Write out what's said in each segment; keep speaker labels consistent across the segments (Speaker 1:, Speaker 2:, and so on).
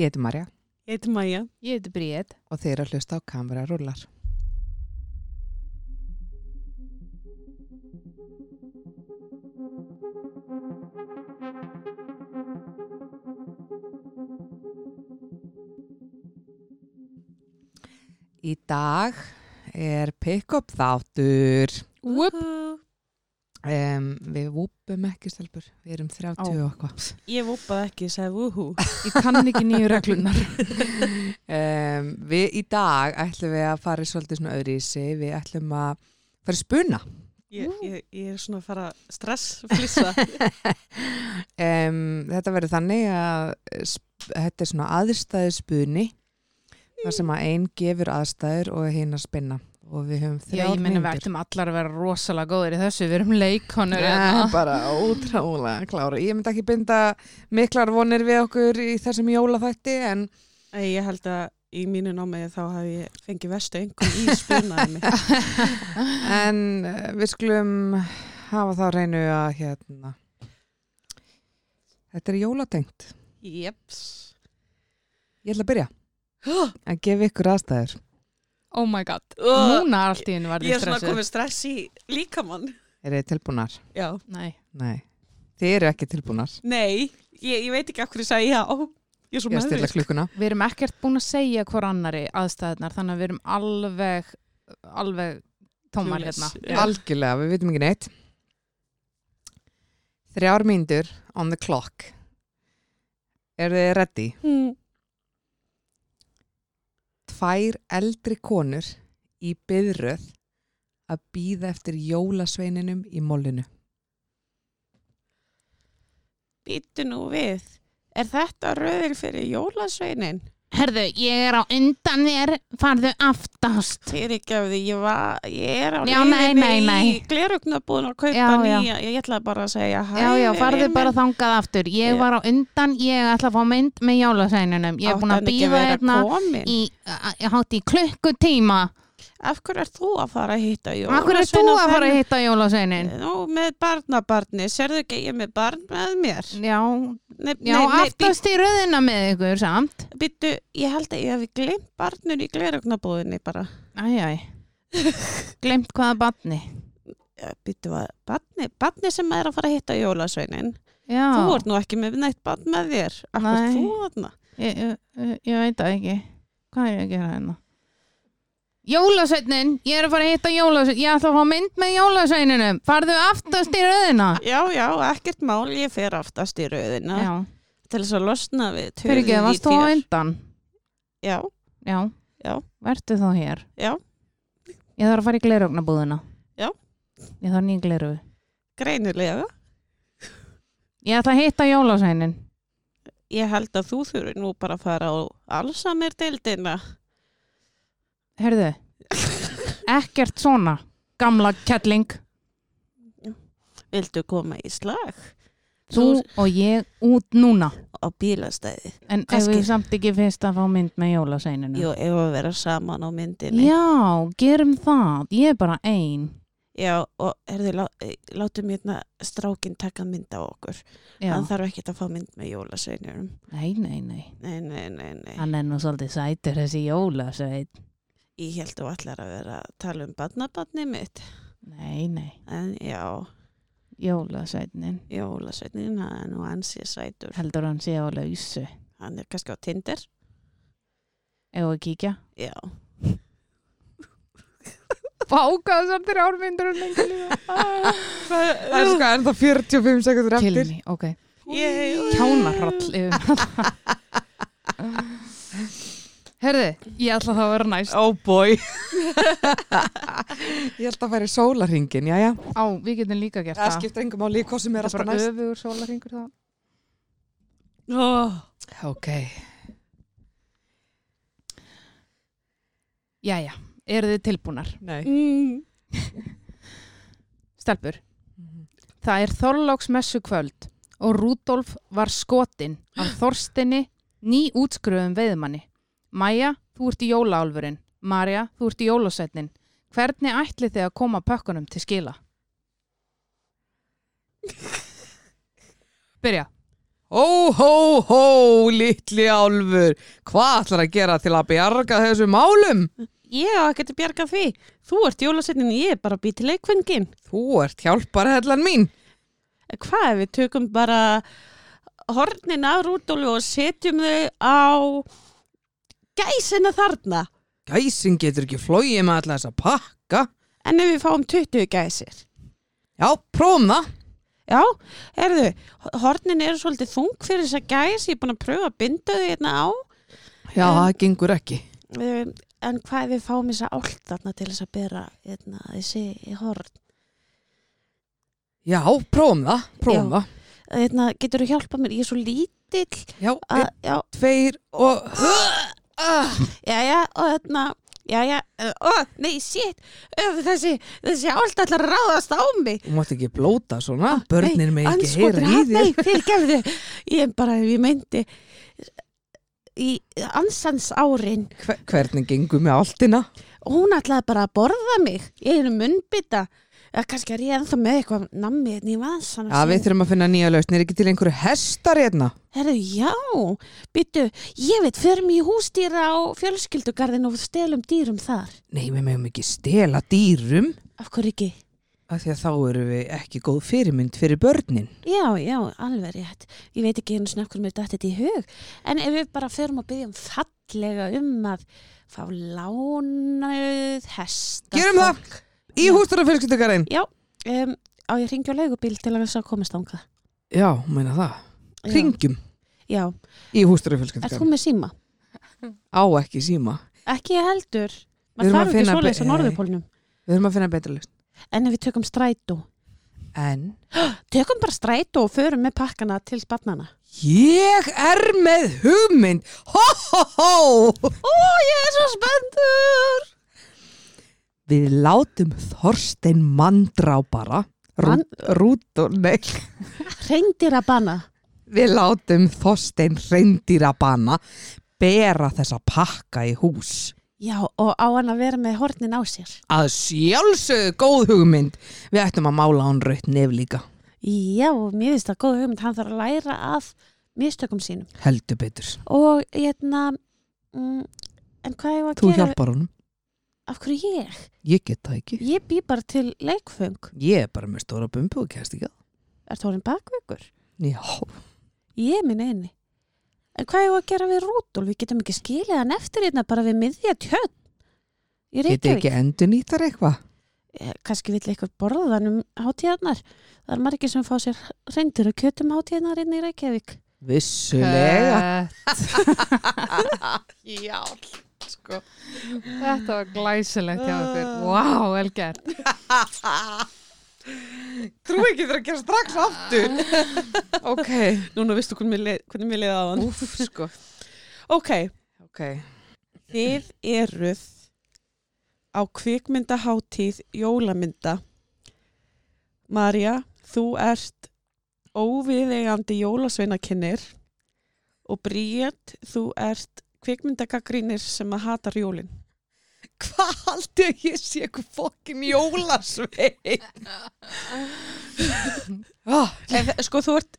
Speaker 1: Ég heiti Marja
Speaker 2: Ég heiti Maja.
Speaker 3: Ég heiti Bríett.
Speaker 1: og þeir að hlusta á Kamera rúlar. Í dag er pick-up þáttur.
Speaker 3: Whoop.
Speaker 1: Um, við vúpum ekki stelpur, við erum 30
Speaker 3: Á.
Speaker 1: og eitthvað.
Speaker 2: Ég vópaði ekki, ég sagði wúhú.
Speaker 3: Ég kann ekki nýju reglunar.
Speaker 1: Um, við í dag ætlum við að fara í svolítið svona öðru í sig, við ætlum að fara í spuna.
Speaker 2: Ég, ég, ég er svona að fara stressflissa.
Speaker 1: Um, þetta verður þannig að eh, sp- þetta er svona aðstæðu spuni, þar sem að einn gefur aðstæður og hinn að spinna og við höfum
Speaker 3: Já,
Speaker 1: þrjár
Speaker 3: ég menna við ættum allar að vera rosalega góðir í þessu. Við erum leikonur.
Speaker 1: Nei,
Speaker 3: hérna.
Speaker 1: bara ótrúlega klára. Ég myndi ekki binda miklar vonir við okkur í þessum jólaþætti en
Speaker 2: Æ, ég held að í mínu námi þá hafi ég fengið vestu engum í spunaði mig.
Speaker 1: En eh, við skulum hafa þá reynu að hérna Þetta er jólatengt.
Speaker 2: Jeps.
Speaker 1: Ég ætla að byrja að gefa ykkur aðstæður.
Speaker 3: Oh my god.
Speaker 2: Ó,
Speaker 3: Núna allt í hennu var
Speaker 2: Ég er
Speaker 3: þið
Speaker 2: svona
Speaker 3: stressuð.
Speaker 2: komið stress í líkamann.
Speaker 1: Er þið tilbúnar?
Speaker 2: Já.
Speaker 3: Nei.
Speaker 1: Nei. Þið eru ekki tilbúnar.
Speaker 2: Nei, ég, ég veit ekki af hverju ég sagði já. Ég er svo
Speaker 1: Ég stilla
Speaker 2: meðvirk.
Speaker 1: klukkuna.
Speaker 3: Við erum ekkert búin að segja hvor annari aðstæðnar þannig að við erum alveg, alveg tómar
Speaker 2: Clueless.
Speaker 3: hérna.
Speaker 2: Já.
Speaker 1: Algjörlega, við vitum ekki neitt. Þrjár mínútur on the clock. Eru þið ready?
Speaker 2: Hmm.
Speaker 1: Tvær eldri konur í byðröð að býða eftir jólasveininum í mollinu.
Speaker 2: Býttu nú við. Er þetta röðil fyrir jólasveinin?
Speaker 3: Herðu, ég er á undan þér, farðu aftast.
Speaker 2: Fyrirgefðu, ég, var, ég er á
Speaker 3: Já, nei,
Speaker 2: leiðinni
Speaker 3: nei, nei.
Speaker 2: í glerugnabúðin að kaupa
Speaker 3: Já, já.
Speaker 2: nýja. Ég ætlaði bara að segja hæ.
Speaker 3: Já, já,
Speaker 2: við
Speaker 3: farðu
Speaker 2: erum
Speaker 3: bara þangað aftur. Ég
Speaker 2: Já.
Speaker 3: var á undan, ég ætla að fá mynd með jólasveininum. Ég er
Speaker 2: Átti
Speaker 3: búin
Speaker 2: hann
Speaker 3: að
Speaker 2: ekki
Speaker 3: býða
Speaker 2: vera
Speaker 3: hérna
Speaker 2: kominn?
Speaker 3: í, a- a- hátt í klukkutíma.
Speaker 2: Af hverju er þú að fara að hitta jólasveina?
Speaker 3: Akkur er þú að fara að hitta jólasveinin?
Speaker 2: Nú, með barnabarni, sérðu ekki ég er með barn með mér?
Speaker 3: Já,
Speaker 2: Nei,
Speaker 3: Mm. já aftast í röðina með ykkur samt.
Speaker 2: býttu, ég held að ég hefði glimt barnun í glerugnabúðinni bara.
Speaker 3: Æj, æj. Glemt hvaða batni.
Speaker 2: Býttu að, barni, barni sem er að fara að hitta jólasveinin,
Speaker 3: Já,
Speaker 2: þú ert nú ekki með neitt barn með þér. Akkur
Speaker 3: Nei.
Speaker 2: er þú þarna?
Speaker 3: ég, ég, ég- ég veit það ekki. Hvað er ég að gera hérna? Jólasveinin, ég er að fara að hitta jólasveinin. Ég ætla að fá mynd með jólasveininum. Farðu aftast í röðina.
Speaker 2: Já, já, ekkert mál, ég fer aftast í rauðina.
Speaker 3: Já,
Speaker 2: til þess að losna við töluð
Speaker 3: fyrir ekki,
Speaker 2: í
Speaker 3: varst þú á
Speaker 2: þér.
Speaker 3: undan?
Speaker 2: Já,
Speaker 3: Já,
Speaker 2: Já.
Speaker 3: verðu þá hér.
Speaker 2: já,
Speaker 3: Ég þarf að fara í glerugnabúðina.
Speaker 2: Já.
Speaker 3: Ég þarf nýja glerugu.
Speaker 2: greinilega
Speaker 3: Ég ætla að hitta jólasveinin.
Speaker 2: ég held að þú þurfi nú bara að fara á allsamir deildina
Speaker 3: Herðu, ekkert svona, gamla kettling.
Speaker 2: viltu koma í slag
Speaker 3: Þú og ég út núna.
Speaker 2: á bílastæði
Speaker 3: En ef
Speaker 2: Kannski.
Speaker 3: við samt ekki fyrst að fá mynd með jólaseininu.
Speaker 2: Jú, ef að vera saman á myndinni
Speaker 3: Já, gerum það. Ég er bara ein.
Speaker 2: Já, og herðu, lá, eh, látum hérna strákin taka mynd á okkur
Speaker 3: Já.
Speaker 2: hann þarf ekkert að fá mynd með jólasveinurum
Speaker 3: Nei, nei, nei.
Speaker 2: nei, nei, nei, nei
Speaker 3: Hann er nú svolítið sætur þessi jólaseit.
Speaker 2: ég held þú allar að vera að tala um badnabatni mitt
Speaker 3: Nei, nei.
Speaker 2: en já,
Speaker 3: Jólaseitnin.
Speaker 2: jólasveinin hann er nú ansi sætur
Speaker 3: Heldur hann sé á lausu.
Speaker 2: hann er kannski á Tinder
Speaker 3: Ef við kíkja.
Speaker 2: já
Speaker 3: Bákaðu samt þér ármyndur um lengi lífa.
Speaker 1: Það er sko ennþá 45 sekundur
Speaker 3: Kill
Speaker 1: eftir.
Speaker 3: me, ok.
Speaker 2: Yay.
Speaker 3: Kjánarall yfir. Herði, ég ætla það að vera næst.
Speaker 1: Oh boy. ég held að færi sólaringin, já, já.
Speaker 3: Á, við getum líka gert
Speaker 1: Það
Speaker 3: það.
Speaker 1: skiptir engum máli í hvað sem er
Speaker 3: Það er
Speaker 1: alltaf
Speaker 3: bara
Speaker 1: næst.
Speaker 3: öfugur sólarringur það.
Speaker 2: Oh.
Speaker 1: Ok.
Speaker 3: Jæja, eru þið tilbúnar?
Speaker 1: Nei.
Speaker 2: Mm.
Speaker 3: Stelpur, Mhm. það er Þorláks messu kvöld og Rúdolf var skotinn af Þorstinni ný útskruðum veiðmanni. Maja, þú ert í jólaálfurinn. Marja, þú ert í jólasætnin. Hvernig ætlið þið að koma pökkunum til skila? Byrja.
Speaker 1: Hó, hó, hó, litli álfur, hvað ætlar að gera til að bjarga þessu málum?
Speaker 2: Ég á ekkert að bjarga því. Þú ert jólasetnin, ég er bara að býta leikvöngin.
Speaker 1: Þú ert hjálparhellan mín.
Speaker 2: Hvað ef við tökum bara hornin af Rúdólu og setjum þau á gæsina þarna?
Speaker 1: Gæsin getur ekki flóið með alla þessa pakka.
Speaker 2: En ef við fáum 20 gæsir?
Speaker 1: Já, prófum það.
Speaker 2: Já, erðu, hornin eru svolítið þung fyrir þess að gæs, ég er búin að pröfa að binda þau hérna á.
Speaker 1: Já, það gengur ekki.
Speaker 2: Um, En hvað ef við fáum þess að ált þarna til þess að bera hérna, þessi horn?
Speaker 1: Já, prófum það, prófum
Speaker 2: Já.
Speaker 1: það.
Speaker 2: Hérna, getur þú hjálpað mér? Ég er svo lítill.
Speaker 1: Já,
Speaker 2: að-
Speaker 1: einn,
Speaker 2: Já,
Speaker 1: tveir og... Ah,
Speaker 2: Jæja, og þarna, jæja, eh, ó, nei, shit, öf, þessi, þessi ált ætlar að ráðast á mig.
Speaker 1: Þú mátt ekki blóta svona, börnin með ekki heyra í
Speaker 2: Nei,
Speaker 1: þér.
Speaker 2: fyrir gefðu, ég er bara, ég meinti, í ansans árin,
Speaker 1: Hver- Hvernig gengur með áltina?
Speaker 2: hún ætlaði bara að borða mig, ég er munnbytta, eða kannski er ég ennþá með eitthvað nammi hérna í vansan.
Speaker 1: Já, við þurfum að finna nýja lausnir, ekki til einhverju hestar hérna.
Speaker 2: Herru, já, byttu, ég veit, förum í hústýra á fjölskyldugarðin og stelum dýrum þar.
Speaker 1: Nei, við meðum ekki stela dýrum,
Speaker 2: Af hverju ekki?
Speaker 1: af því að þá eru við ekki góð fyrirmynd fyrir börnin.
Speaker 2: Já, já, alveg rétt. Ég veit ekki einu sinni okkur mér dætti þetta í hug. En ef við bara förum að byggja um fallega um að fá lánuð hesta.
Speaker 1: Gerum það! Í
Speaker 2: Já.
Speaker 1: hústara fjölskyldugarinn.
Speaker 2: Já, um, á ég ringi á leigubíl til að þess að komast ánga.
Speaker 1: Já, meina það. Ringjum
Speaker 2: Já,
Speaker 1: í hústara
Speaker 2: er þú
Speaker 1: fjölskyldugarinn.
Speaker 2: með síma?
Speaker 1: Á ekki síma.
Speaker 2: Ekki ég heldur.
Speaker 1: Við
Speaker 2: Maður
Speaker 1: erum að
Speaker 2: þarf ekki
Speaker 1: finna
Speaker 2: svoleiðis
Speaker 1: be-
Speaker 2: á norðupólnum.
Speaker 1: Við þurfum að finna betra lausn.
Speaker 2: En ef við tökum strætó.
Speaker 1: En
Speaker 2: Tökum bara strætó og förum með pakkana til spannana.
Speaker 1: ég er með hugmynd. Hó, hó, hó!
Speaker 2: Ó, ég er svo spenntur!
Speaker 1: Við látum Þorstein mandrá bara. Rú,
Speaker 2: Mann-
Speaker 1: rút og nei.
Speaker 2: Reyndir að banna.
Speaker 1: Við látum Þorstein reyndýrabana bera þessa pakka í hús.
Speaker 2: Já, og á hann að vera með hornin á sér.
Speaker 1: að sjálfsögðu góð hugmynd við ættum að mála hann raut nef líka
Speaker 2: Já, mér finnst það góð hugmynd, hann þarf að læra af mistökum sínum.
Speaker 1: heldur betur,
Speaker 2: Og hérna, mm, en hvað ég var að
Speaker 1: þú
Speaker 2: gera?
Speaker 1: hjálpar honum
Speaker 2: Af hverju ég?
Speaker 1: ég get það ekki,
Speaker 2: Ég bý bara til leikföng.
Speaker 1: ég er bara með stóra bumbu og kæst ekki
Speaker 2: Er það orðin bakveikur?
Speaker 1: að já,
Speaker 2: Ég er minn eini. En hvað ég var að gera við Rúdolf? Við getum ekki skilið hann eftir hérna bara við miðja tjörn. Ég
Speaker 1: get
Speaker 2: reykja
Speaker 1: ekki endur nýtar eitthvað
Speaker 2: Kanski vill eitthvað borða hann um hátíðarnar. Það er margir sem fá sér reyndur að kjötum hátíðarnar inn um hérna í Reykjavík.
Speaker 1: vissulega
Speaker 3: Já, sko. Þetta var glæsilegt hjá ykkur. Vá, vel gert.
Speaker 1: trú ekki þegar að gera strax aftur ok,
Speaker 2: Núna veistu hvernig mér leiði á hann.
Speaker 1: úf sko
Speaker 2: Ok,
Speaker 1: ok,
Speaker 2: Þið eruð á kvikmyndaháttíð jólamynda. Marja, þú ert óviðegandi jólasveinakinnir og Bríett, þú ert kvikmyndagagrínir sem að hatar jólin.
Speaker 1: hvað haldi að ég sé eitthvað fokkin jólasveit ah,
Speaker 2: Ef, sko, þú ert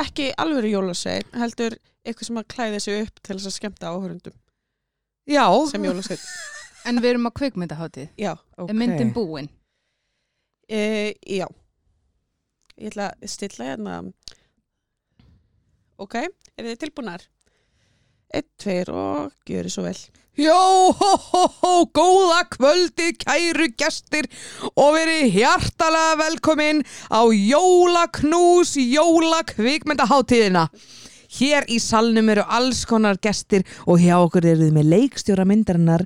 Speaker 2: ekki alveg jólasvein, heldur eitthvað sem að klæði þessu upp til þess að skemmta áhörundum
Speaker 1: já
Speaker 2: sem jólasvein.
Speaker 3: En við erum á kvikmyndaháttið.
Speaker 2: Já,
Speaker 1: Ok.
Speaker 3: Okay. Myndin búin.
Speaker 2: e, já. Ég ætla að stilla hérna. Ok, eru þið tilbúnar? Einn, tveir og gjöri svo vel.
Speaker 1: Jó, hó, hó, hó, góða kvöldi kæru gestir og verið hjartalega velkomin á Jólaknús Jólakvikmyndaháttíðina. Hér í salnum eru alls konar gestir og hjá okkur eruð með leikstjóra myndarinnar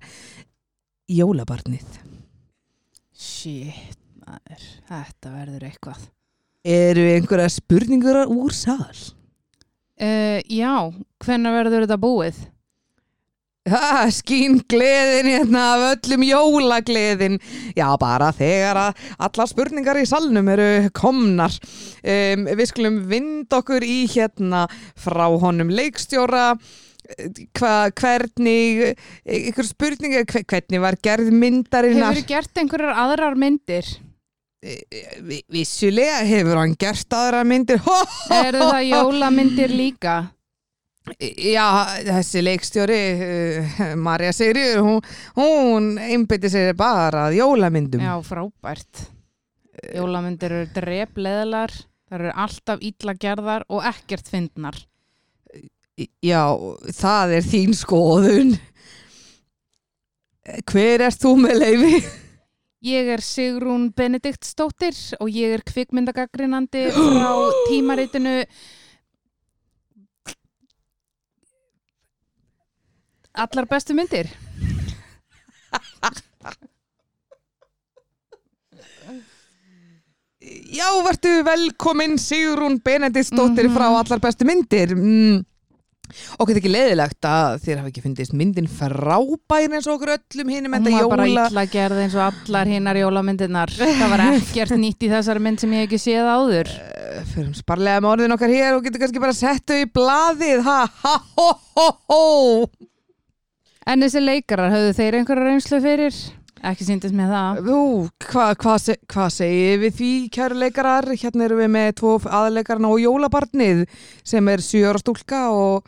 Speaker 1: Jólabarnið.
Speaker 3: Shit, maður. Þetta verður eitthvað.
Speaker 1: Eru einhverja spurningur úr sal?
Speaker 3: Uh, já, hvenær verður þetta búið?
Speaker 1: Ha, skín gleðin hérna af öllum jólagleðin já bara þegar að allar spurningar í salnum eru komnar um, við skulum vind okkur í hérna frá honum leikstjóra hva, hvernig e, ykkur spurningar, hve- hvernig var gerð myndarinnar
Speaker 3: Hefur gert einhverjar aðrar myndir?
Speaker 1: e- e- vi- vissulega hefur hann gert aðra myndir Ho, ho, ho,
Speaker 3: Eru það
Speaker 1: ho.
Speaker 3: jólamyndir líka?
Speaker 1: Já, þessi leikstjóri uh, Marja Sigriður hún, hún einbytti sér bara að jólamyndum
Speaker 3: Já, frábært. Jólamyndir eru drepleðlar, það eru alltaf illa gerðar og ekkert fyndnar.
Speaker 1: Já, það er þín skoðun Hver ert þú með leifi?
Speaker 3: Ég er Sigrún Benediktsdóttir og ég er kvikmyndagagrinandi frá tímaritinu Allar bestu myndir.
Speaker 1: Já, vertu velkomin Sigrún Benediktsdóttir frá
Speaker 3: Mhm.
Speaker 1: allar bestu myndir mm. Okkur er ekki leiðilegt að þér hafi ekki fundist myndin frábær eins og okkur öllum hinum
Speaker 3: Hún
Speaker 1: enda
Speaker 3: var bara
Speaker 1: jóla
Speaker 3: illa gerð eins og allar hinnar jólamyndirnar. Það var ekkert nýtt í þessari mynd sem ég hef ekki séð áður.
Speaker 1: fyrir Eh, sparlega með orðin okkar hér og getur kannski bara sett þau í blaðið ha ha ho ho ho
Speaker 3: En þessi leikarar, höfðu þeir einhverja reynslu fyrir? Ekki síndist með það.
Speaker 1: Ú, hvað hva, se- hvað segir við því kæruleikarar hérna erum við með tvo aðleikarna og jólabarnið sem er 7 ára stúlka og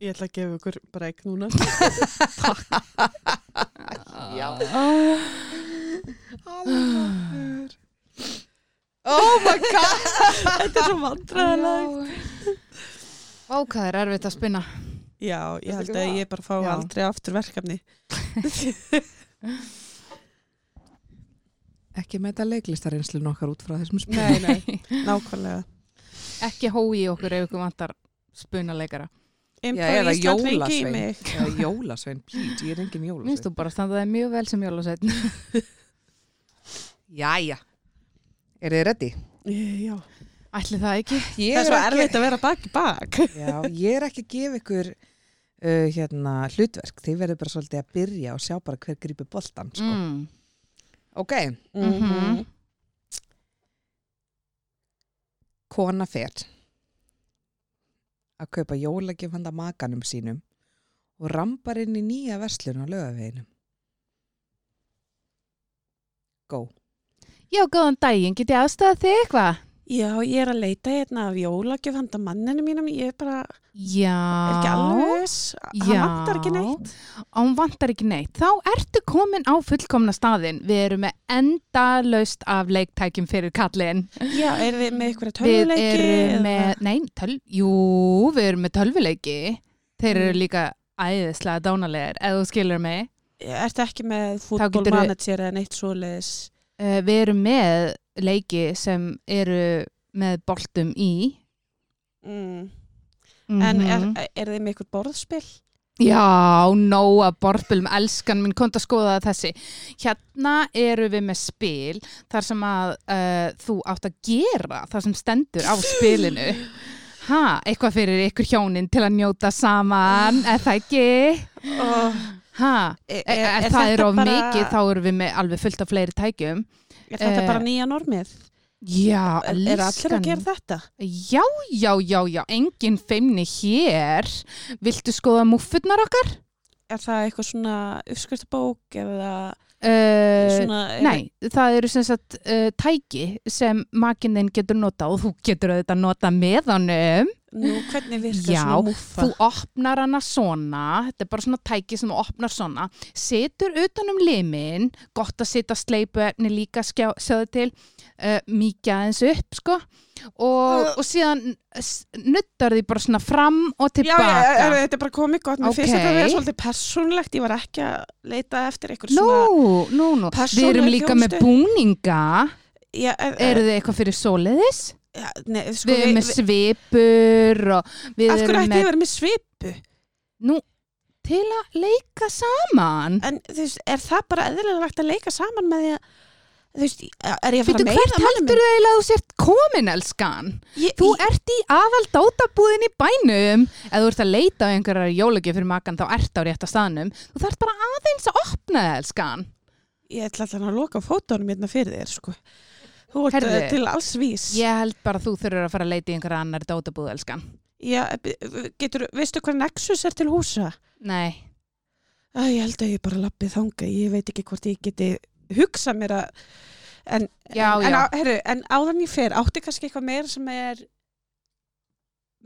Speaker 2: Ég ætla að gefa ykkur breyk núna.
Speaker 3: Oh,
Speaker 1: oh my god
Speaker 2: Þetta er svo vandræðileg.
Speaker 3: Ó, hvað er erfitt að spinna.
Speaker 2: Já, ég held að ég bara fá
Speaker 3: Já.
Speaker 2: aldrei aftur verkefni.
Speaker 1: ekki með þetta leiklistareinslun okkar út frá þessum spil
Speaker 2: Nei, nei, nákvæmlega.
Speaker 3: Ekki hói okkur ef ykkur vantar spunaleikara.
Speaker 2: Improv
Speaker 1: eða
Speaker 2: Ísland ringi í
Speaker 1: jólasvein.
Speaker 2: mig.
Speaker 1: Eða jólasvein, please, ég er engin
Speaker 3: Minnst
Speaker 1: jólasvein
Speaker 3: þú bara standaði mjög vel sem jólasveitn.
Speaker 1: Jæja, er þið reddi?
Speaker 2: Já.
Speaker 3: Ætli það ekki?
Speaker 2: Það er svo erfitt að vera bak í bak.
Speaker 1: Já, ég er ekki að gefa ykkur uh, hérna, hlutverk. Þið verður bara svolítið að byrja og sjá bara hver grípi boltan. Sko.
Speaker 3: Mm.
Speaker 1: Ok,
Speaker 3: Mhm.
Speaker 1: kona fer að kaupa jólagjöfanda makanum sínum og rambar inn í nýja verslun á lögaveginum. Go.
Speaker 3: Já, góðan daginn, get ég aðstæða þig eitthvað?
Speaker 2: Já, ég er að leita hérna af jólagjöf handa manninu mínum. Ég er bara,
Speaker 3: Já.
Speaker 2: er ekki alveg viss.
Speaker 3: Já.
Speaker 2: Hann vantar ekki neitt.
Speaker 3: og hún vantar ekki neitt, þá ertu komin á fullkomna staðin. Við erum með endalaust af leiktækjum fyrir kallin.
Speaker 2: Já, er þið með ykkur
Speaker 3: Við
Speaker 2: tölvuleiki? eða-
Speaker 3: erum með, nei, töl, jú, við erum með tölvuleiki. Þeir eru
Speaker 2: Mm.
Speaker 3: líka æðislega dánalegir, eða þú skilur mig.
Speaker 2: Ertu ekki með
Speaker 3: geturðu-
Speaker 2: fútbólmanager eða neitt svoleiðis?
Speaker 3: Uh, við erum með leiki sem eru með boltum í.
Speaker 2: Mm.
Speaker 3: Mm
Speaker 2: En er, er þið með ykkur borðspil?
Speaker 3: Já, nóa borðbölum, elskan minn, kom til að skoða þessi. Hérna eru við með spil þar sem að uh, þú átt að gera það sem stendur á spilinu. Ha, eitthvað fyrir ykkur hjónin til að njóta saman, er það ekki?
Speaker 2: Oh.
Speaker 3: Ha,
Speaker 2: Er,
Speaker 3: ef það
Speaker 2: þetta
Speaker 3: E, er of
Speaker 2: bara-
Speaker 3: mikið þá erum við með alveg fullt af fleiri tækjum.
Speaker 2: Er þetta
Speaker 3: eh,
Speaker 2: bara nýja normið?
Speaker 3: Já,
Speaker 2: Er, er allir að gera þetta?
Speaker 3: Já, já, já, já, engin feimni hér. Viltu skoða múffurnar okkar?
Speaker 2: Er það eitthvað svona uppskriftabók eða
Speaker 3: Uh,
Speaker 2: svona...
Speaker 3: Nei, það eru sem sagt uh, tæki sem makinn þinn getur nota og þú getur auðvitað nota með honum.
Speaker 2: Nú, hvernig virkar
Speaker 3: Já,
Speaker 2: svona múffa?
Speaker 3: Þú opnar hana svona, þetta er bara svona tæki sem þú opnar svona, setur utan um limin, gott að setja sleipuefni líka, skjá- sjáðu til, uh, mýkja aðeins upp sko
Speaker 2: Uh.
Speaker 3: og, og síðan s- nuttar því bara svona fram og
Speaker 2: Já,
Speaker 3: tilbaka.
Speaker 2: já, er, þetta er bara komið gott. Mér finnst
Speaker 3: Ókei.
Speaker 2: þetta að vera svolítið persónlegt. Ég var ekki að leita eftir eitthvað svona...
Speaker 3: Nú, nú, nú, við
Speaker 2: persónuleg Eh.
Speaker 3: erum líka með
Speaker 2: þjónustu.
Speaker 3: búninga,
Speaker 2: Já, er,
Speaker 3: eru þið eitthvað fyrir svoleiðis?
Speaker 2: ja, nei, sko,
Speaker 3: við erum með svipur og við
Speaker 2: Af hverju ætti ég
Speaker 3: erum
Speaker 2: að
Speaker 3: með
Speaker 2: vera með svipu?
Speaker 3: til að leika saman
Speaker 2: En þú veist, er það bara eðlilegt að leika saman með því að... Þú veist, er ég að fara
Speaker 3: Fyrir
Speaker 2: að
Speaker 3: hvert
Speaker 2: meina
Speaker 3: heldur þau eiginlega að þú sért komin elskan?
Speaker 2: Ég,
Speaker 3: Þú ert í aðal dátabúðin í bænum Ef þú ert að leita á einhverjar jólugjöf fyrir makan þá ert á rétta staðnum Þú þarft bara aðeins að opna það elskan
Speaker 2: Ég ætla alltaf að loka fótunum hérna fyrir þér, sko. Þú ert
Speaker 3: Heyrðu.
Speaker 2: Herði. til alls vís.
Speaker 3: Ég held bara að þú þurfur að fara að leita í einhverjar annar dátabúð elskan
Speaker 2: Já, b- getur, veistu hvað Nexus er til húsa?
Speaker 3: Nei,
Speaker 2: Æ, ég held að ég bara lappið þanga. Ég veit ekki hvort ég geti hugsað mér að en,
Speaker 3: Já,
Speaker 2: en,
Speaker 3: já.
Speaker 2: á, heru, en áðan ég fer, átti kannski eitthvað meira sem er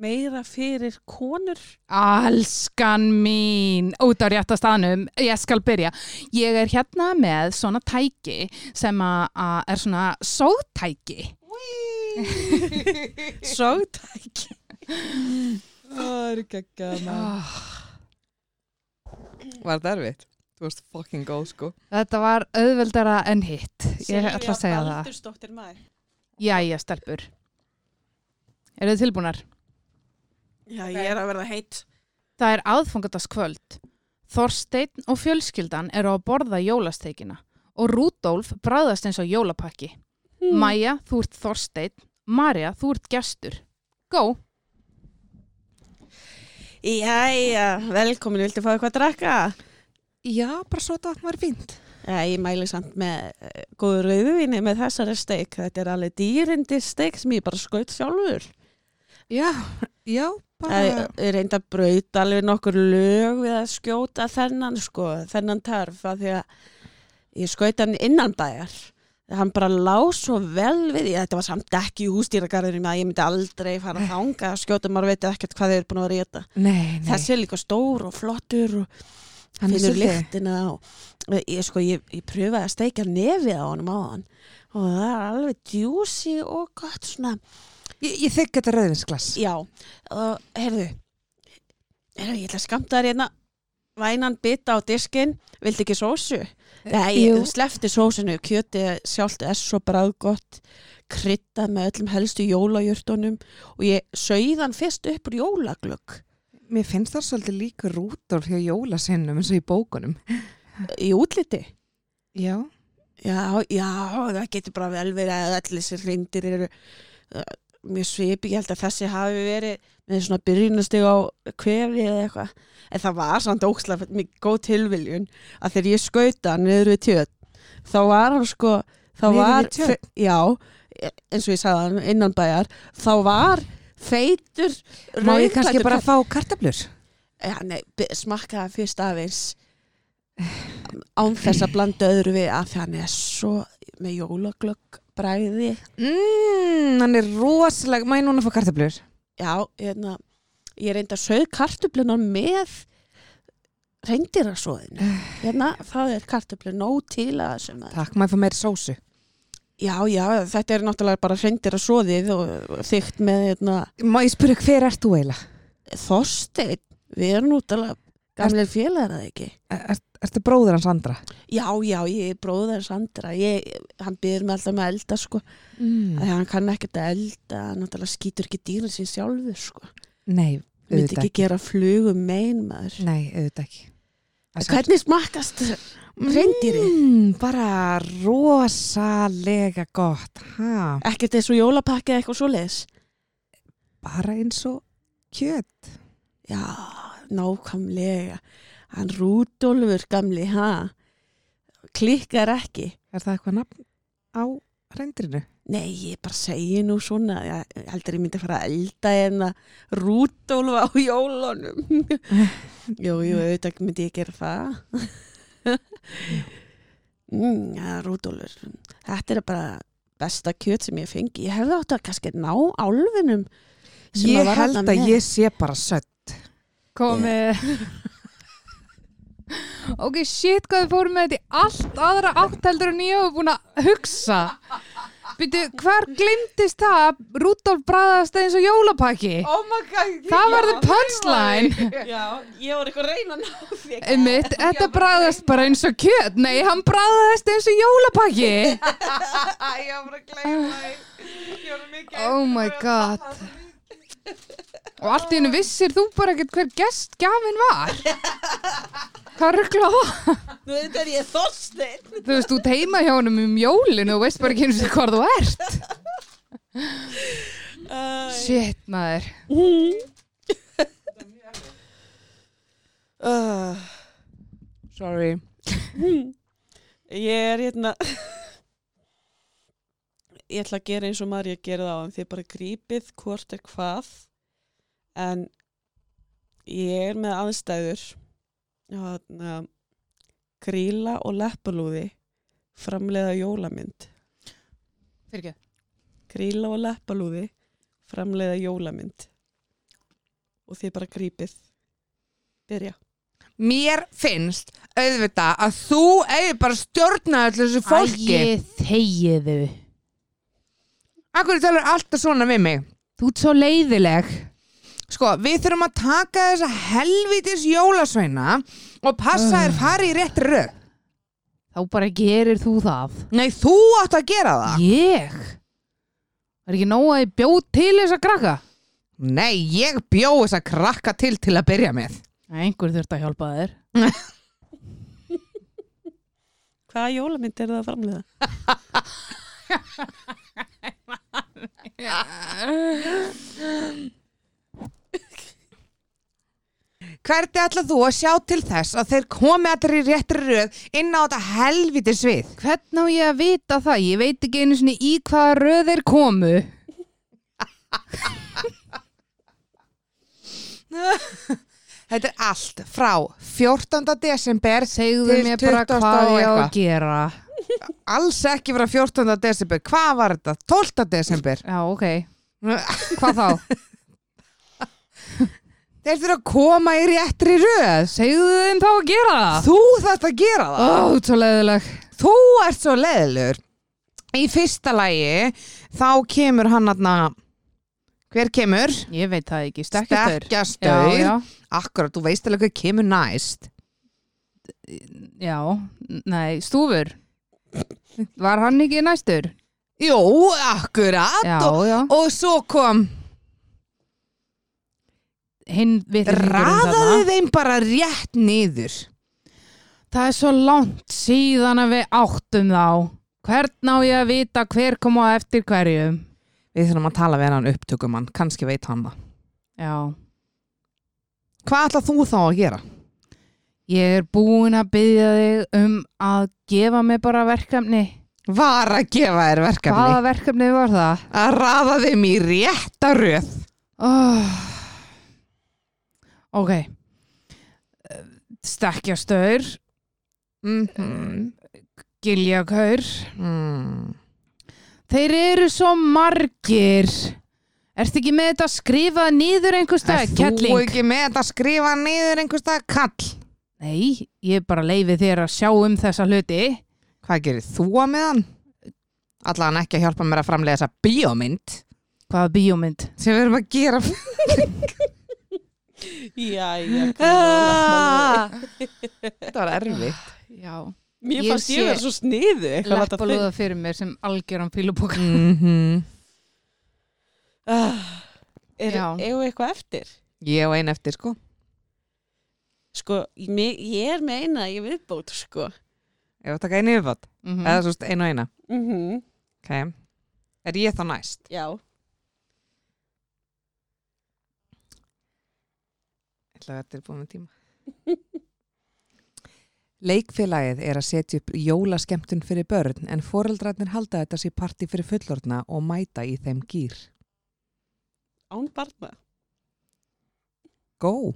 Speaker 2: meira fyrir konur
Speaker 3: Alskan mín, út á rétta staðnum, ég skal byrja. Ég er hérna með svona tæki sem að að er svona sóðtæki.
Speaker 2: Sögtæki
Speaker 1: Það er geggja
Speaker 3: Ah,
Speaker 1: Var þetta erfitt? Þú varst fucking góð sko
Speaker 3: Þetta var auðveldara en hitt, ég ætla að segja það.
Speaker 2: Baldursdóttir maður
Speaker 3: Jæja, stelpur. Eru þið tilbúnar?
Speaker 2: Já, ég er að verða heitt
Speaker 3: Það er aðfangataskvöld. Þorsteinn og fjölskyldan eru að borða jólasteikina og Rúdólf bræðast eins og jólapakki. Mm. Maja, þú ert Þorsteinn. Marja, þú ert gestur. Go!
Speaker 2: Jæja, velkomin, viltu fá eitthvað að drakka?
Speaker 1: Já, bara svo þetta var fínt
Speaker 2: Já, ég mæli samt með eh, góðu rauðvinni með þessari steik þetta er alveg dýrindi steik sem ég bara skaut sjálfur
Speaker 1: Já, já,
Speaker 2: Það er reynd að brauta alveg nokkur lög við að skjóta þennan sko, þennan tarf að því að ég skauta hann innan bæjar. Hann bara lág svo vel við því, þetta var samt ekki í hústýragarðinum að ég myndi aldrei fara að þanga að skjóta, maður veit ekkert hvað þau eru búin að vera í þetta.
Speaker 1: Nei, nei
Speaker 2: Þessi er líka stór og flottur og
Speaker 1: Hann er
Speaker 2: finnur
Speaker 1: svolítið.
Speaker 2: lyktina og ég sko, ég, ég pröfaði að steikja nefið á honum á hann og það er alveg djúsi og gott svona
Speaker 1: Ég, ég þykk þetta rauðinsglas
Speaker 2: Já, og heyrðu, heyrðu, ég ætla að skamta þér hérna vænan bita á diskin, vildi ekki sósu? Nei,
Speaker 4: jú.
Speaker 2: ég slefti sósinu, kjöti sjálft er svo bræðgott, kryddað með öllum helstu jólajurtunum og ég sauðan fyrst upp úr jólaglögg.
Speaker 1: Mér finnst það svolítið líka Rúdolf hjá jólasinnum eins og í bókunum
Speaker 2: Í útliti?
Speaker 1: Já
Speaker 2: Já, já, það getur bara vel verið að allir þessir hrindir eru uh, mjög svipi, ég held að þessi hafi verið með svona byrjunastig á kvefi eða eitthvað, en það var samt ókslega mikið góð tilviljun að þegar ég skauta hann niður við tjöt þá var hann sko þá
Speaker 1: Niður við
Speaker 2: var,
Speaker 1: tjörn?
Speaker 2: fe- já, e- eins og ég sagði hann innan bæjar, þá var feitur
Speaker 1: Má ég kannski
Speaker 2: rauðklæddur
Speaker 1: bara
Speaker 2: kall-
Speaker 1: fá kartablur?
Speaker 2: Já, nei, Eh, be- smakkaði fyrst aðeins án þess að blanda öðru við af því hann er svo með jólaglögg bræði.
Speaker 1: Mmm, hann er rosalega Má ég núna fá kartablur?
Speaker 2: Já, hérna, ég reyndi að sögð kartöflunar með reyndirasóðinu. Hérna, það er kartöflun nóg til að sem það.
Speaker 1: Takk, má ég fá meiri sósu
Speaker 2: Já, já, þetta er náttúrulega bara reyndirasóðið og þygt með hérna,
Speaker 1: Má ég spyrja hver ert þú eiginlega?
Speaker 2: þorsteinn. Við erum núttalega gamlega félagar að ekki.
Speaker 1: Er, er, ertu bróður hans Andra?
Speaker 2: Já, já, ég er bróðar Sandra. Ég, hann byrður mig alltaf með að elda, sko.
Speaker 1: Mm.
Speaker 2: Þegar hann kann ekkert að elda, hann náttúrulega skýtur ekki dýrin sín sjálfur, sko.
Speaker 1: Nei,
Speaker 2: Hann myndi
Speaker 1: auðvitað ekki.
Speaker 2: ekki
Speaker 1: Mm,
Speaker 2: gera flugum mein, maður.
Speaker 1: Nei, auðvitað ekki.
Speaker 2: En Hvernig smakkast reyndýri?
Speaker 1: Mm, bara rosalega gott. Ha,
Speaker 2: Ekkert eins og jólapakki eða eitthvað svoleiðis?
Speaker 1: bara eins og kjöt.
Speaker 2: Já, nákvæmlega. Hann Rúdólfur gamli, ha? Klikkar ekki.
Speaker 1: Er það eitthvað nafn á reyndirinu?
Speaker 2: Nei, ég bara segi nú svona. Ég ég held að ég myndi fara að elda en að Rúdólf á jólunum. jú, jú, auðvitað myndi ég gera það. mm, ja, Rúdólfur, þetta er bara besta kjöt sem ég fengi. Ég hefði átt að kannski ná álfinum. sem
Speaker 1: Ég
Speaker 2: var
Speaker 1: held
Speaker 2: þarna
Speaker 1: að
Speaker 2: með.
Speaker 1: ég sé bara sött.
Speaker 3: Komið.
Speaker 2: Eh.
Speaker 3: ok, shit, hvað við fórum með þetta í allt aðra átt heldur en ég hef búin að hugsa. Býtu, hvar glimtist það að Rúdolf bræðast eins og jólapakki?
Speaker 2: Oh my god.
Speaker 3: það var the punchline.
Speaker 2: Já, ég var eitthvað að reyna að ná því.
Speaker 3: Einmitt, þetta bræðast bara eins og kjöt. Nei, hann bræðast eins og jólapakki.
Speaker 2: Æ, ég var að gleyma því. Ég var mikið.
Speaker 3: Oh my god. Og allt í hennu vissir þú bara ekkert hver gest gafin var. Hvað ruggla það?
Speaker 2: Nú þetta er ég þorstinn.
Speaker 3: Þú veist, þú ert heima hjá honum um jólinu og veist bara ekki einu sinni hvar þú ert. Shit, maður.
Speaker 2: Uh,
Speaker 1: Sorry.
Speaker 2: ég er hérna... Ég ætla að gera eins og maður ég gerði á en þið bara grípið hvort er hvað. En ég er með aðstæður. Hérna, gríla og leppalúði framleiða jólamynd.
Speaker 3: Fyrir ekki.
Speaker 2: Kríla og leppalúði framleiða jólamynd og þið bara grípið byrja
Speaker 1: Mér finnst auðvitað að þú eigi bara að stjórna allir þessu fólki.
Speaker 3: þegiðu.
Speaker 1: Akkur talar alltaf svona við mig.
Speaker 3: Þú ert svo leiðileg.
Speaker 1: Sko, við þurfum að taka þessa helvitis jólasveina og passa þér fari í rétt röð.
Speaker 3: Þá bara gerir þú það.
Speaker 1: Nei, þú átt að gera það.
Speaker 3: Ég? Er ekki nóg að ég bjóð til þess að krakka?
Speaker 1: Nei, ég bjó þess að krakka til til að byrja með.
Speaker 3: Nei, einhver þurft að hjálpa þér.
Speaker 2: Hvaða jólamynd er það að framleiða?
Speaker 1: Hvernig ætlað þú að sjá til þess að þeir komi allir í rétt röð inn á þetta helvitis við?
Speaker 3: Hvernig á ég að vita það? Ég veit ekki einu sinni í hvaða röð þeir komu.
Speaker 1: Þetta er allt frá 14. desember
Speaker 3: Segðu
Speaker 1: Til
Speaker 3: mér bara
Speaker 1: 20
Speaker 3: hvað
Speaker 1: og
Speaker 3: ég á að
Speaker 1: eitthvað.
Speaker 3: gera.
Speaker 1: alls ekki frá 14. desember hvað var þetta? 12. desember
Speaker 3: Já, ok. Hvað þá?
Speaker 1: þeir þurfa að koma í réttri röð
Speaker 3: Segðu þeim þá að gera það.
Speaker 1: þú þarft að gera
Speaker 3: Ó,
Speaker 1: það
Speaker 3: þú ert svo leiðileg.
Speaker 1: þú ert svo leðilur í fyrsta lagi þá kemur hann aðna hver kemur?
Speaker 3: Ég veit það ekki. Stekkjastaur. Já,
Speaker 1: Stekkjastaur
Speaker 3: já.
Speaker 1: akkurat, þú veist alveg hvað kemur næst
Speaker 3: Já, nei, stúfur. Var hann ekki næstur?
Speaker 1: jú, akkurat
Speaker 3: Já,
Speaker 1: og,
Speaker 3: já.
Speaker 1: og svo kom
Speaker 3: Hinn vitlingurinn
Speaker 1: raðaði þeim bara rétt niður
Speaker 3: Það er svo langt síðan að við áttum þá. Hvern á ég að vita hver kom á eftir hverjum?
Speaker 1: við þurfum að tala við hann um upptökumann kannski veit hann það
Speaker 3: Já,
Speaker 1: hvað ætlað þú þá að gera?
Speaker 3: ég er búin að byggja þig um að gefa mig bara verkefni.
Speaker 1: var að gefa þér verkefni
Speaker 3: Hvaða verkefni var það?
Speaker 1: að raða þeim í rétta röð
Speaker 3: Oh. Ok, stekkjastaur,
Speaker 1: mm
Speaker 3: giljakaur.
Speaker 1: mm.
Speaker 3: Þeir eru svo margir. Ertu ekki með þetta skrifað niður einhver
Speaker 1: Er
Speaker 3: stað?
Speaker 1: þú
Speaker 3: Kettling?
Speaker 1: ekki með þetta að skrifa niður einhvers stað kall
Speaker 3: Nei, ég bara leifi þér að sjá um þessa hluti.
Speaker 1: hvað gerir þú að með hann? allan ekki að hjálpa mér að framlega þessa bíómynd
Speaker 3: Hvaða bíómynd?
Speaker 1: sem við erum að gera
Speaker 2: Jæja, Ah!
Speaker 1: þetta var erfitt
Speaker 3: Já,
Speaker 2: Mér
Speaker 3: Ég
Speaker 2: fannst ég
Speaker 3: sé-
Speaker 2: vera svo sniðu eitthvað láta þau-
Speaker 3: leppalúða fyrir mér sem algjöran fílubóka.
Speaker 1: mm
Speaker 2: Ah, Er
Speaker 3: Já.
Speaker 2: eigum við eitthvað eftir?
Speaker 1: ég og ein eftir sko
Speaker 2: Sko, ég, mig- ég er með eina í viðbót, sko
Speaker 1: ég var að taka einu yfirbátt
Speaker 3: Mm
Speaker 1: eða svo veist, ein og eina
Speaker 2: mm
Speaker 3: Mhm.
Speaker 1: okay. er ég þá næst?
Speaker 2: Já
Speaker 1: ætla að þetta er búin með tíma Leikfélagið er að setja upp jólaskemtun fyrir börn en foreldrarnir halda þetta sér parti fyrir fullorðna og mæta í þeim gýr.
Speaker 2: Án barna
Speaker 1: Go!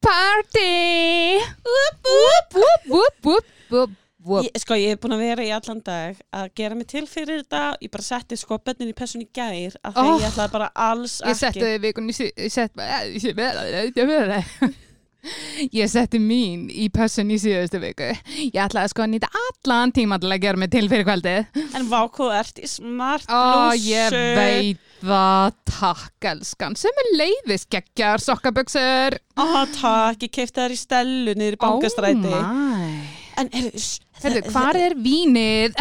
Speaker 3: Party! Úp, úp, úp, úp, úp, úp, úp.
Speaker 2: ég, Sko, ég er búin að vera í allan dag að gera mig til fyrir þetta Ég bara setti sko bennin í pessun í gær af því að
Speaker 3: Oh.
Speaker 2: ég ætlaði bara alls
Speaker 3: Ég setti
Speaker 2: ekki
Speaker 3: þið vikunni, ég setti eh, bara, ég sé með það, ég sé með það. Ég setti mín í pössun í síðustu viku. Ég ætlaði sko að nýta allan tíma til að gera mig til fyrir kvöldið.
Speaker 2: En vákóð ert í smart
Speaker 3: Ó, Ah, ég
Speaker 2: blússu.
Speaker 3: veit það, takk elskan, sem er leiðis geggjar sokkaböksur.
Speaker 2: Ó, Ah, takk, ég keipti þær í stellu niður í bankastræti
Speaker 3: Oh my.
Speaker 2: En, heyrðu, sh-
Speaker 3: Herðu, hvar er vínið?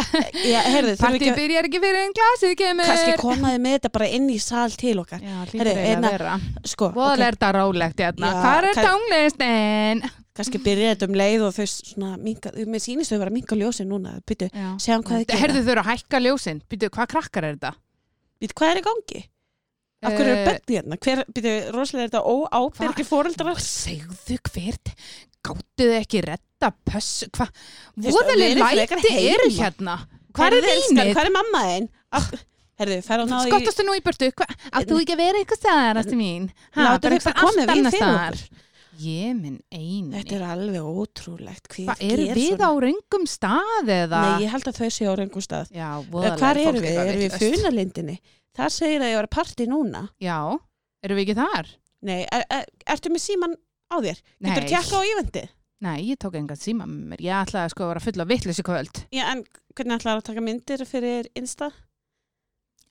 Speaker 2: Já, heyrðu, þurfum
Speaker 3: Parti
Speaker 2: ekki að
Speaker 3: byrjar ekki fyrir en glasið kemur.
Speaker 2: kannski komaði með þetta bara inn í sal til okkar
Speaker 3: Já,
Speaker 2: Heyrðu,
Speaker 3: hlýtur eiginlega
Speaker 2: hérna,
Speaker 3: að vera.
Speaker 2: sko,
Speaker 3: Voðal
Speaker 2: ok,
Speaker 3: er þetta rólegt hérna.
Speaker 2: Já,
Speaker 3: Hvar er
Speaker 2: kann-
Speaker 3: tónlistin?
Speaker 2: kannski byrja þetta um leið og þau svona minka, mér sýnist þau vera að minka ljósin núna byrju, segja hann um hvað þið gera
Speaker 3: Herðu þau eru að hækka ljósin. Býtu, hvað krakkar er þetta?
Speaker 2: byrju, hvað er í gangi? Af hverju
Speaker 3: Eh,
Speaker 2: eru bönni hérna? Hver, byrju, rosalega er þetta óábyrgi
Speaker 3: Og
Speaker 2: fóreldrar
Speaker 3: segðu hvert, gáttu þau ekki redda pöss? Hvað,
Speaker 2: Þú veist,
Speaker 3: voðaleg
Speaker 2: verið frekar
Speaker 3: læti
Speaker 2: heima.
Speaker 3: eru hérna? Hvað er vínið?
Speaker 2: Hvað er mamma þinn? Af- Heyrðu, ferðu að ná í
Speaker 3: Skottastu nú í burtu, Hva- átt þú ekki að vera eitthvað staðar, æstu mín? Ha,
Speaker 2: Láttu þau
Speaker 3: bara
Speaker 2: bara
Speaker 3: eitthvað
Speaker 2: koma við
Speaker 3: allt annars
Speaker 2: fyrir
Speaker 3: staðar.
Speaker 2: okkur.
Speaker 3: Ég minn eini.
Speaker 2: Þetta er alveg ótrúlegt. Hver
Speaker 3: Hvað eru
Speaker 2: gerir
Speaker 3: við
Speaker 2: svona?
Speaker 3: á röngum stað eða?
Speaker 2: Nei, ég held að þau séu á rengum stað.
Speaker 3: Já, voðalega
Speaker 2: Hvað
Speaker 3: fólk
Speaker 2: eru við?
Speaker 3: eitthvað
Speaker 2: Erum við í
Speaker 3: vitlaust.
Speaker 2: funalindinni? Það segir að ég var að parti núna.
Speaker 3: Já, eru við ekki þar?
Speaker 2: Nei, er, er, ertu með síman á þér?
Speaker 3: Nei.
Speaker 2: Getur tjekka á ívendi?
Speaker 3: Nei, ég tók engan síma með mér. Ég ætlaði sko að vera fulla vittlis í kvöld.
Speaker 2: Já, en hvernig ætlar að taka myndir fyrir Insta?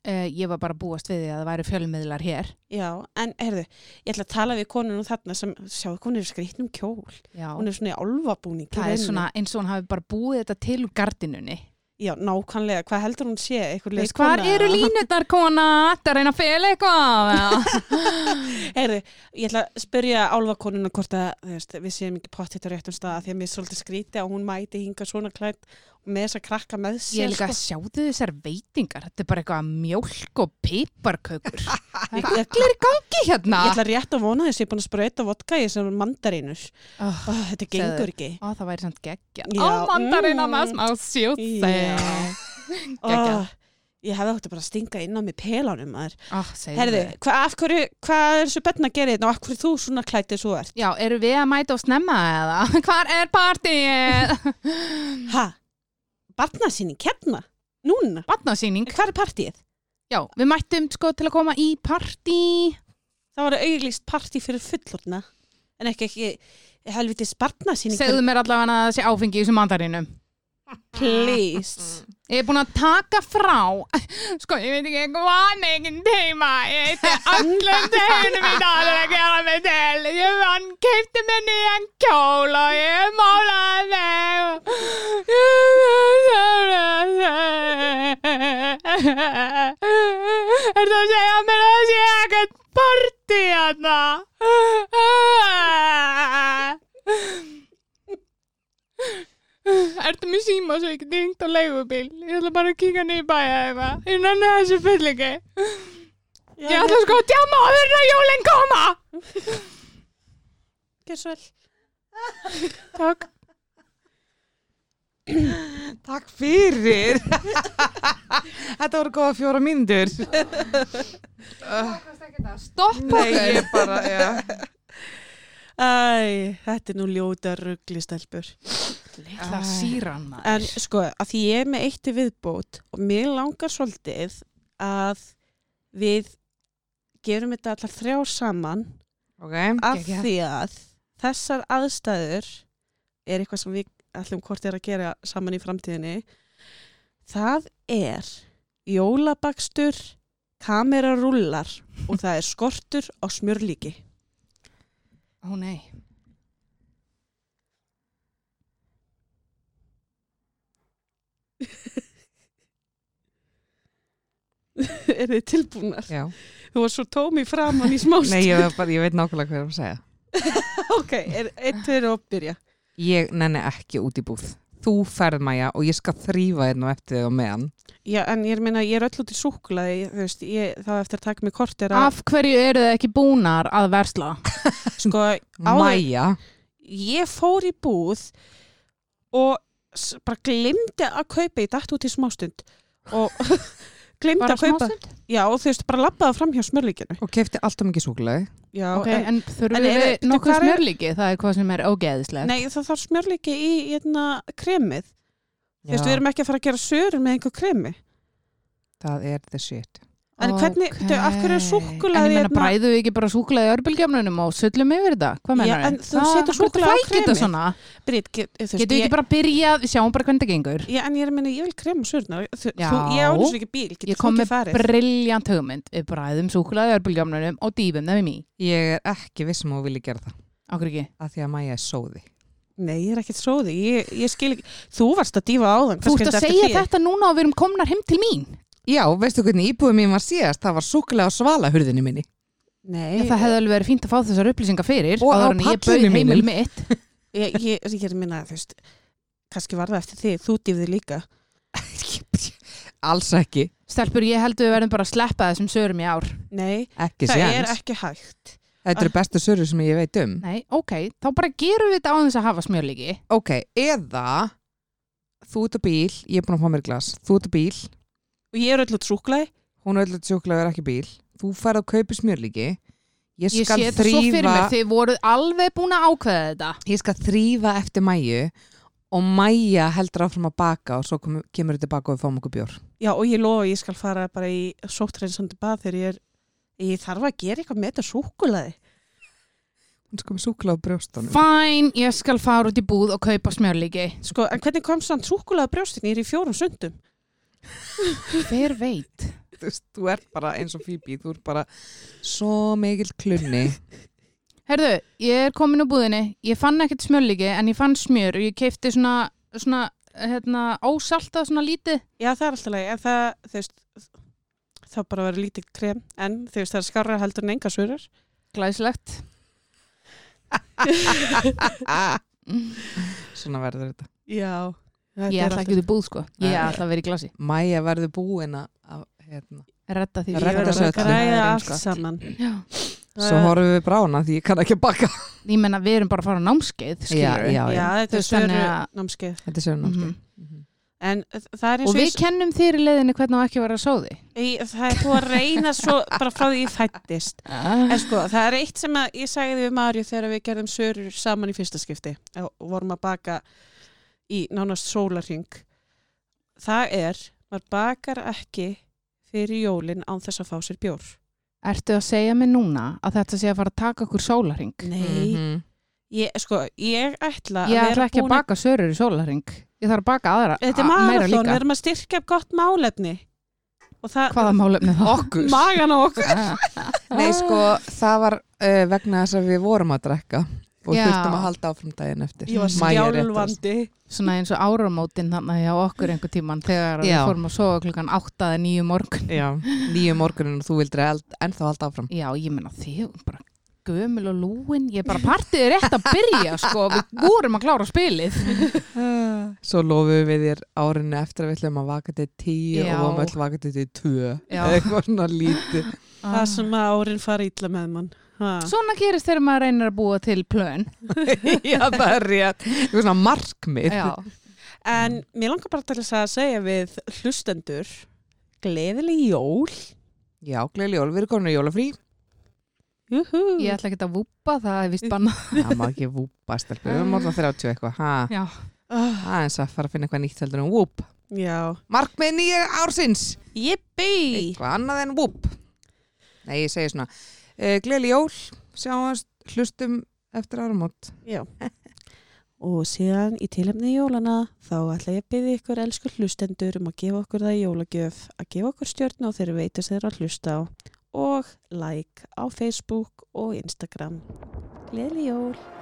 Speaker 3: Uh, ég var bara að búast við því að það væri fjölmiðlar hér.
Speaker 2: Já, en heyrðu, ég ætla að tala við konunum þarna sem, sjáðu, hún er í skrýtnum kjól.
Speaker 3: Já,
Speaker 2: Hún er svona í álfabúning. í
Speaker 3: það er
Speaker 2: rauninni.
Speaker 3: svona eins og hún hafi bara búið þetta til úr gardinunni.
Speaker 2: Já, nákvæmlega, hvað heldur hún sé? Einhver
Speaker 3: Veist,
Speaker 2: leikkona?
Speaker 3: hvar eru línutar kona? Þetta er að reyna að fela eitthvað. eða?
Speaker 2: Heyrðu, ég ætla að spyrja álfakonuna hvort að þú veist, við séum ekki pott þetta réttum stað af því að mér er svolítið skrítið að hún mæti hinga svona klætt og með þess að krakka með
Speaker 3: ég er
Speaker 2: sér sko.
Speaker 3: líka að sjáðu þessar veitingar. Þetta er bara eitthvað mjólk og piparkökur.
Speaker 2: Ég, ég, ég,
Speaker 3: Allir gangi hérna.
Speaker 2: ætla rétt að vona þess að ég er búin að sprauta vodka í þessum mandarínus
Speaker 3: Oh,
Speaker 2: oh, Þetta gengur ekki
Speaker 3: Ó, ah, það væri samt Ah, geggja.
Speaker 2: Já,
Speaker 3: Á mandarina
Speaker 2: mm.
Speaker 3: með smá sjúsi.
Speaker 2: Já.
Speaker 3: Geggjað.
Speaker 2: oh, Ég hefði átti bara að stinga inn á mig pelanum maður.
Speaker 3: Ó, segðu
Speaker 2: Herðu,
Speaker 3: þau.
Speaker 2: hva, af hverju, hvað er þessu benn að gera þetta og af hverju þú svona klættið svo ert?
Speaker 3: Já, eru við að mæta og snemma eða? Hvar er partíið? Mm.
Speaker 2: Ha? Barnasýning, hérna? Núna?
Speaker 3: Batnasýning.
Speaker 2: Hvað er partíið?
Speaker 3: Já, við mættum sko til að koma í partí.
Speaker 2: Það var auðvílist partí fyrir fullorna en ekki ekki helviti spartna sín
Speaker 3: Segðu mér allavega að það sé áfengi í þessum mandarinum.
Speaker 2: please
Speaker 3: Ég er búin að taka frá, sko, ég veit ekki hvað meginn teima, ég eitthvað allum teginum í dag að gera mig til. Ég vann, keipti mér nýjan kjól og ég málaði þig. Er það að segja mér að það sé ekkert partí hérna? Ertu með síma svo ég geti hringt á leigubíl? Ég ætla bara að kíka niður í bæja eða eitthvað. Ég nenni þessu fyll ekki. Ég ætla sko að djama á þeirra jólinn koma.
Speaker 2: Gjör svo vel
Speaker 3: Takk.
Speaker 1: Takk fyrir Þetta voru góða fjóra myndur
Speaker 3: Stopp
Speaker 1: Nei, ég bara, já
Speaker 2: Æ, þetta er nú ljóta rugglistelpur
Speaker 3: Litla síran
Speaker 2: en sko, að því ég er með eitt í viðbót og mér langar svolítið að við gerum þetta allar þrjá saman
Speaker 1: Ok,
Speaker 2: af
Speaker 3: Geggjað.
Speaker 2: því að þessar aðstæður er eitthvað sem við ætlum hvort er að gera saman í framtíðinni það er jólabakstur kamerarúllar og það er skortur á smjörlíki
Speaker 3: Ó nei.
Speaker 2: er þið tilbúnar?
Speaker 1: já
Speaker 2: Þú var svo tómi framann í smást
Speaker 1: Nei, ég, var bara, ég veit nákvæmlega hvað ég er að segja
Speaker 2: ok, er, eitt fyrir að byrja
Speaker 1: Ég nenni ekki út í búð Þú ferð Maja og ég skal þrýfa þérna og eftir þig á meðan
Speaker 2: já, en ég meina, ég er öll út í súkulaði þú veist, ég, þá eftir að taka mig kort er að
Speaker 3: Af hverju eru þið ekki búnar að versla?
Speaker 2: sko, áður,
Speaker 1: Maja,
Speaker 2: ég fór í búð og s- bara glimti að kaupa, ég dætt út í smástund og glimti
Speaker 3: Bara
Speaker 2: að kaupa
Speaker 3: smástund?
Speaker 2: já og þú veist, bara labbaða fram hjá smörlíkinu
Speaker 1: og kefti alltaf mikið súklaði
Speaker 2: já,
Speaker 3: Ok,
Speaker 2: en,
Speaker 3: en
Speaker 2: en
Speaker 3: þurfum
Speaker 2: er-
Speaker 3: við
Speaker 2: bíddu,
Speaker 3: nokkuð
Speaker 2: hvar er-
Speaker 3: smjörlíki? Það er hvað sem er ógeðislegt.
Speaker 2: nei það þarf smörlíki í hérna kremið, þú veist, við erum ekki að fara að gera sörur með einhver kremi
Speaker 1: Það er the shit
Speaker 2: en hvernig,
Speaker 3: Ok.
Speaker 2: okay. af hverju er súkkulaði
Speaker 3: En ég menna,
Speaker 2: hérna-
Speaker 3: bræðu við ekki bara súkulaði örbylgjafnunum og sullum yfir þetta? Hvað
Speaker 2: Já,
Speaker 3: mennar
Speaker 2: en þú setur súkkulaði á kremið.
Speaker 3: svona?
Speaker 2: Brit, get, þú
Speaker 3: Getum
Speaker 2: ég,
Speaker 3: við ekki bara byrjað, sjáum bara hvernig það gengur?
Speaker 2: já, en ég er að minna, ég vil krema sörurnar þú,
Speaker 3: Já.
Speaker 2: þú, ég án þessu ekki bíl, getur
Speaker 3: Ég
Speaker 2: þú
Speaker 3: kom
Speaker 2: ekki
Speaker 3: með
Speaker 2: farið
Speaker 3: briljant hugmynd. Við bræðum súkulaði örbulgjámnunum og dýfum þeim í mí.
Speaker 1: Ég er ekki vissum að hún vilji gera það
Speaker 3: Akkur ekki.
Speaker 1: af því að Maja er sóði
Speaker 2: nei, ég er ekkert sóði, ég, ég skil ekki þú varst að dífa áðan,
Speaker 3: Þú
Speaker 2: hvað skildi
Speaker 3: ert að
Speaker 2: eftir
Speaker 3: segja
Speaker 2: þér?
Speaker 3: þetta núna og við erum komnar heim til mín.
Speaker 1: Já, veistu hvernig íbúið mín var síðast? Það var súklaði á svalahurðinni minni
Speaker 2: Nei,
Speaker 3: Já, það hefði alveg verið fínt að fá þessar upplýsingar fyrir.
Speaker 1: Og á
Speaker 3: áður en ég bauð
Speaker 1: pallinum
Speaker 3: heimili
Speaker 1: mínum.
Speaker 3: mitt.
Speaker 2: ég, ég, ég er að minna, þú veist, kannski var það eftir þig, þú dýfði líka.
Speaker 1: Alls ekki,
Speaker 3: Stelpur, ég held við verðum bara að sleppa þessum sörum í ár.
Speaker 2: Nei,
Speaker 1: ekki
Speaker 2: það
Speaker 1: séns
Speaker 2: er ekki hægt.
Speaker 1: Þetta eru bestu sörur sem ég veit um
Speaker 3: Nei, ok, þá bara gerum við þetta á þess að hafa smjörlíki.
Speaker 1: Ok, eða þú ert á bíl, ég er búin að fá mér glas þú ert á bíl,
Speaker 2: Og ég er öll út súklaði.
Speaker 1: hún er öll að sjúklaði er ekki bíl þú færð að kaupi smjörlíki Ég
Speaker 3: Ég
Speaker 1: skal
Speaker 3: sé þetta svo fyrir mér,
Speaker 1: þrýfa
Speaker 3: þið voruð alveg búin að ákveða þetta.
Speaker 1: Ég skal þrýfa eftir mæju og mæja heldur áfram að baka og svo kom, kemur þetta baka og við fáum okkur bjór
Speaker 2: Já, og ég lofa að ég skal fara bara í sóttreinsandi bað þegar ég er, ég þarf að gera eitthvað með þetta súkulaði.
Speaker 1: Hún sko með súkla á brjóstunum
Speaker 3: Fæn, ég skal fara út í búð og kaupa smjörlíki.
Speaker 2: Sko, en hvernig komst þann súkulaði brjóstin? Ég er í fjórum sundum.
Speaker 3: Hver veit?
Speaker 1: Þú veist, Þú ert bara eins og Phoebe, þú ert bara svo mikill klunni
Speaker 3: Herðu, ég er komin úr búðinni, ég fann ekkert smjörlíki en ég fann smjör og ég keipti svona, svona hérna, ósaltað svona lítið.
Speaker 2: Já, það er alltaf leið, en það, þú veist, þá bara verið lítið krem, en þú veist, það er skarra heldur en enga svörur.
Speaker 3: Glæslegt.
Speaker 1: ah. Svona verður þetta
Speaker 2: Já.
Speaker 3: Ég ætla ekki út í búð sko. Ég ætla að vera í glasi.
Speaker 1: Mæja verður búin að- að hérna.
Speaker 3: Redda því.
Speaker 1: Ég
Speaker 2: Ég verður
Speaker 1: Redda
Speaker 2: að sko.
Speaker 1: þessu öllu.
Speaker 2: græða
Speaker 3: Það er eins
Speaker 2: allt
Speaker 3: gott.
Speaker 2: saman.
Speaker 3: Já.
Speaker 1: Svo
Speaker 2: Ah.
Speaker 1: horfum við brána því ég kann ekki að baka
Speaker 3: Ég menna, við erum bara að fara á námskeið, skilur
Speaker 1: já,
Speaker 2: Já,
Speaker 1: já.
Speaker 2: þetta
Speaker 3: Þú
Speaker 2: er
Speaker 3: veist, þannig
Speaker 2: svöru
Speaker 3: að-
Speaker 2: námskeið.
Speaker 1: Þetta er sérnum
Speaker 3: Mhm.
Speaker 2: En uh, það er eins
Speaker 3: Og
Speaker 2: og,
Speaker 3: við kennum þér í leiðinni hvernig á ekki að vera að sóði.
Speaker 2: ég, uh, það er búið að reyna svo bara frá því ég fættist.
Speaker 3: Ah.
Speaker 2: En sko, það er eitt sem að ég sagði við Marju þegar við gerðum sörur saman í fyrsta skipti og vorum að baka í nánast sólarring. Það er, maður bakar ekki fyrir jólin án þess að fá sér bjór.
Speaker 3: Ertu að segja mig núna að þetta sé að fara að taka okkur sólaring?
Speaker 2: Nei.
Speaker 1: Mhm.
Speaker 2: Ég, sko, ég ætla
Speaker 3: Ég
Speaker 2: að
Speaker 3: ætla
Speaker 2: vera
Speaker 3: ekki að
Speaker 2: búin að...
Speaker 3: baka sörur í sólaring. Ég þarf að baka aðra,
Speaker 2: Þetta er
Speaker 3: a- meira
Speaker 2: marathón, við
Speaker 3: líka.
Speaker 2: erum að styrkja gott málefni. Og það,
Speaker 3: Hvaða málefni það?
Speaker 1: Okkur
Speaker 2: magan á okkur.
Speaker 1: Nei sko, það var uh, vegna þess að við vorum að drekka og
Speaker 3: Já.
Speaker 1: þurftum að halda áfram daginn eftir
Speaker 2: Ég var
Speaker 1: Mæja rétt að þessu.
Speaker 2: skjálfandi.
Speaker 3: Svona eins og áramótin þannig hjá okkur einhver tíman þegar við
Speaker 1: Já.
Speaker 3: fórum að sofa klukkan 8 eða 9 morgun.
Speaker 1: Já, nýju morgunin og þú vildir eld, ennþá halda áfram
Speaker 3: Já, ég menna þið eru bara gömul og lúin. Ég er bara partið er rétt að byrja, sko. Við vorum að klára spilið.
Speaker 1: Svo lofum við þér árinu eftir að við ætlum að vaka til tíu
Speaker 3: Já.
Speaker 1: og varum öll vaka til tvö
Speaker 3: Já.
Speaker 1: eitthvað svona lítið
Speaker 2: Það sem að árin fara ítla með mann. Ha.
Speaker 3: Ah. Svona gerist þegar maður reynir að búa til plön.
Speaker 1: Já, það er rétt Eitthvað svona markmið
Speaker 3: Já.
Speaker 2: En mér langar bara til þess að segja við hlustendur gleðileg jól
Speaker 1: Já, gleðileg jól, við erum komin í jólafrí
Speaker 2: Júhú.
Speaker 3: Ég ætla ekki að vúpa, það er vist bannað.
Speaker 1: Það má ekki vúpa stelpur, við erum orðin 30 eitthvað ha.
Speaker 3: Mm. Já.
Speaker 2: Ah,
Speaker 1: Það er eins að fara að finna eitthvað nýtt heldur en vúp
Speaker 2: Já
Speaker 1: Markmið nýja ársins
Speaker 2: Jippi
Speaker 1: eitthvað annað en vúp nei, ég segi svona uh, gleli jól, sjáumst, hlustum eftir áramót
Speaker 2: Já Og síðan í tilhemni jólana þá ætla ég að byggja ykkur elsku hlustendur um að gefa okkur það í jólagjöf að gefa okkur stjórn og þeir veitast þeirra að hlusta á og like á Facebook og Instagram Gleðileg jól